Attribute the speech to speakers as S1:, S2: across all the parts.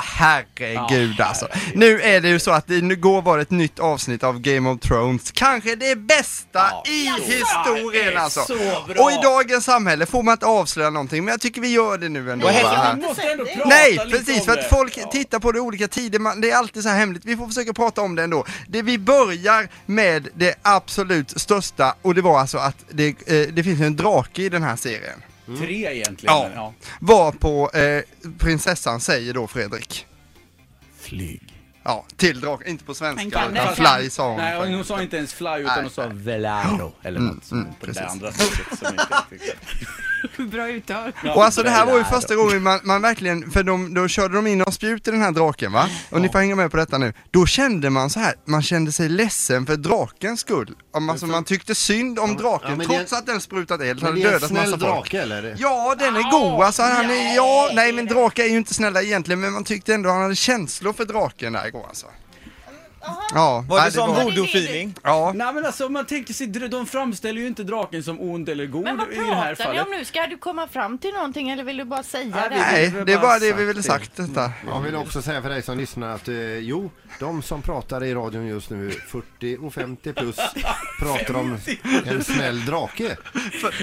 S1: herregud alltså. Nu är det ju så att igår var det ett nytt avsnitt av Game of Thrones, kanske det bästa
S2: Ja,
S1: i
S2: så
S1: historien
S2: bra.
S1: alltså.
S2: Det är så bra.
S1: Och i dagens samhälle får man inte avslöja någonting, men jag tycker vi gör det nu ändå.
S2: Vad
S1: va?
S2: händer? Vi måste ändå prata
S1: Nej,
S2: lite
S1: precis,
S2: om
S1: för att
S2: det.
S1: folk
S2: Ja.
S1: tittar på det i olika tider, man, det är alltid så här hemligt. Vi får försöka prata om det ändå. Det, vi börjar med det absolut största och det var alltså att det, eh, det finns en drake i den här serien.
S2: Tre egentligen.
S1: Ja.
S2: men Ja.
S1: Var på eh, prinsessan säger då Fredrik.
S2: Flyg.
S1: Ja, till draken, inte på
S3: Men
S1: svenska
S3: kan
S1: utan
S3: det?
S1: fly sa hon. Mm,
S2: Nej, och hon sa inte ens fly utan hon sa velaro eller något sånt på det där
S1: precis.
S2: andra sättet som inte jag tyckte.
S3: Bra uttal.
S2: Ja,
S1: Och alltså det här var ju
S2: velaro.
S1: första gången man, man verkligen, för de, då körde de in och spjut i den här draken va? Och ni får hänga med på detta nu. Då kände man så här, man kände sig ledsen för drakens skull. Om man, alltså, man tyckte synd om draken
S4: men det är-
S1: trots att den sprutat eld,
S4: Men
S1: hade
S4: det är en
S1: dödat
S4: snäll
S1: massa folk.
S4: drake eller?
S1: Ja, den är god alltså. Han är, ja, nej men drakar är ju inte snälla egentligen men man tyckte ändå han hade känslor för draken där igår alltså. Ja,
S5: Var
S1: nej,
S5: det som
S1: var-
S5: voodoo-feeling?
S1: Ja,
S2: Nej men alltså om man tänker sig, de framställer ju inte draken som ond eller god
S3: Men vad
S2: i det här
S3: pratar ni
S2: fallet.
S3: om nu? Ska du komma fram till någonting eller vill du bara säga
S2: Nej,
S3: det?
S2: vi-
S1: nej, det var det vi ville sagt detta.
S4: Jag vill också säga för dig som lyssnar att eh, jo, de som pratar i radion just nu, 40 och 50 plus, pratar om en snäll drake.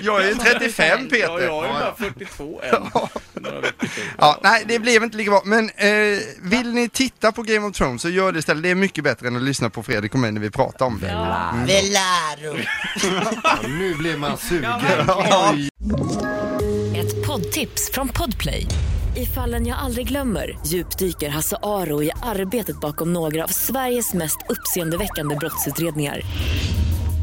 S1: Jag är ju 35
S2: Ja,
S1: Peter.
S2: jag är ju bara 42 än. Några veckor till.
S1: Ja, nej, det blev inte lika bra. Men eh, vill ni titta på Game of Thrones så gör det istället. Det är mycket bättre än att lyssna på Fredrik och mig när vi pratar om det.
S4: Ja, nu blir man sugen.
S6: Ett poddtips från Podplay. I fallen jag aldrig glömmer djupdyker Hasse Aro i arbetet bakom några av Sveriges mest uppseendeväckande brottsutredningar.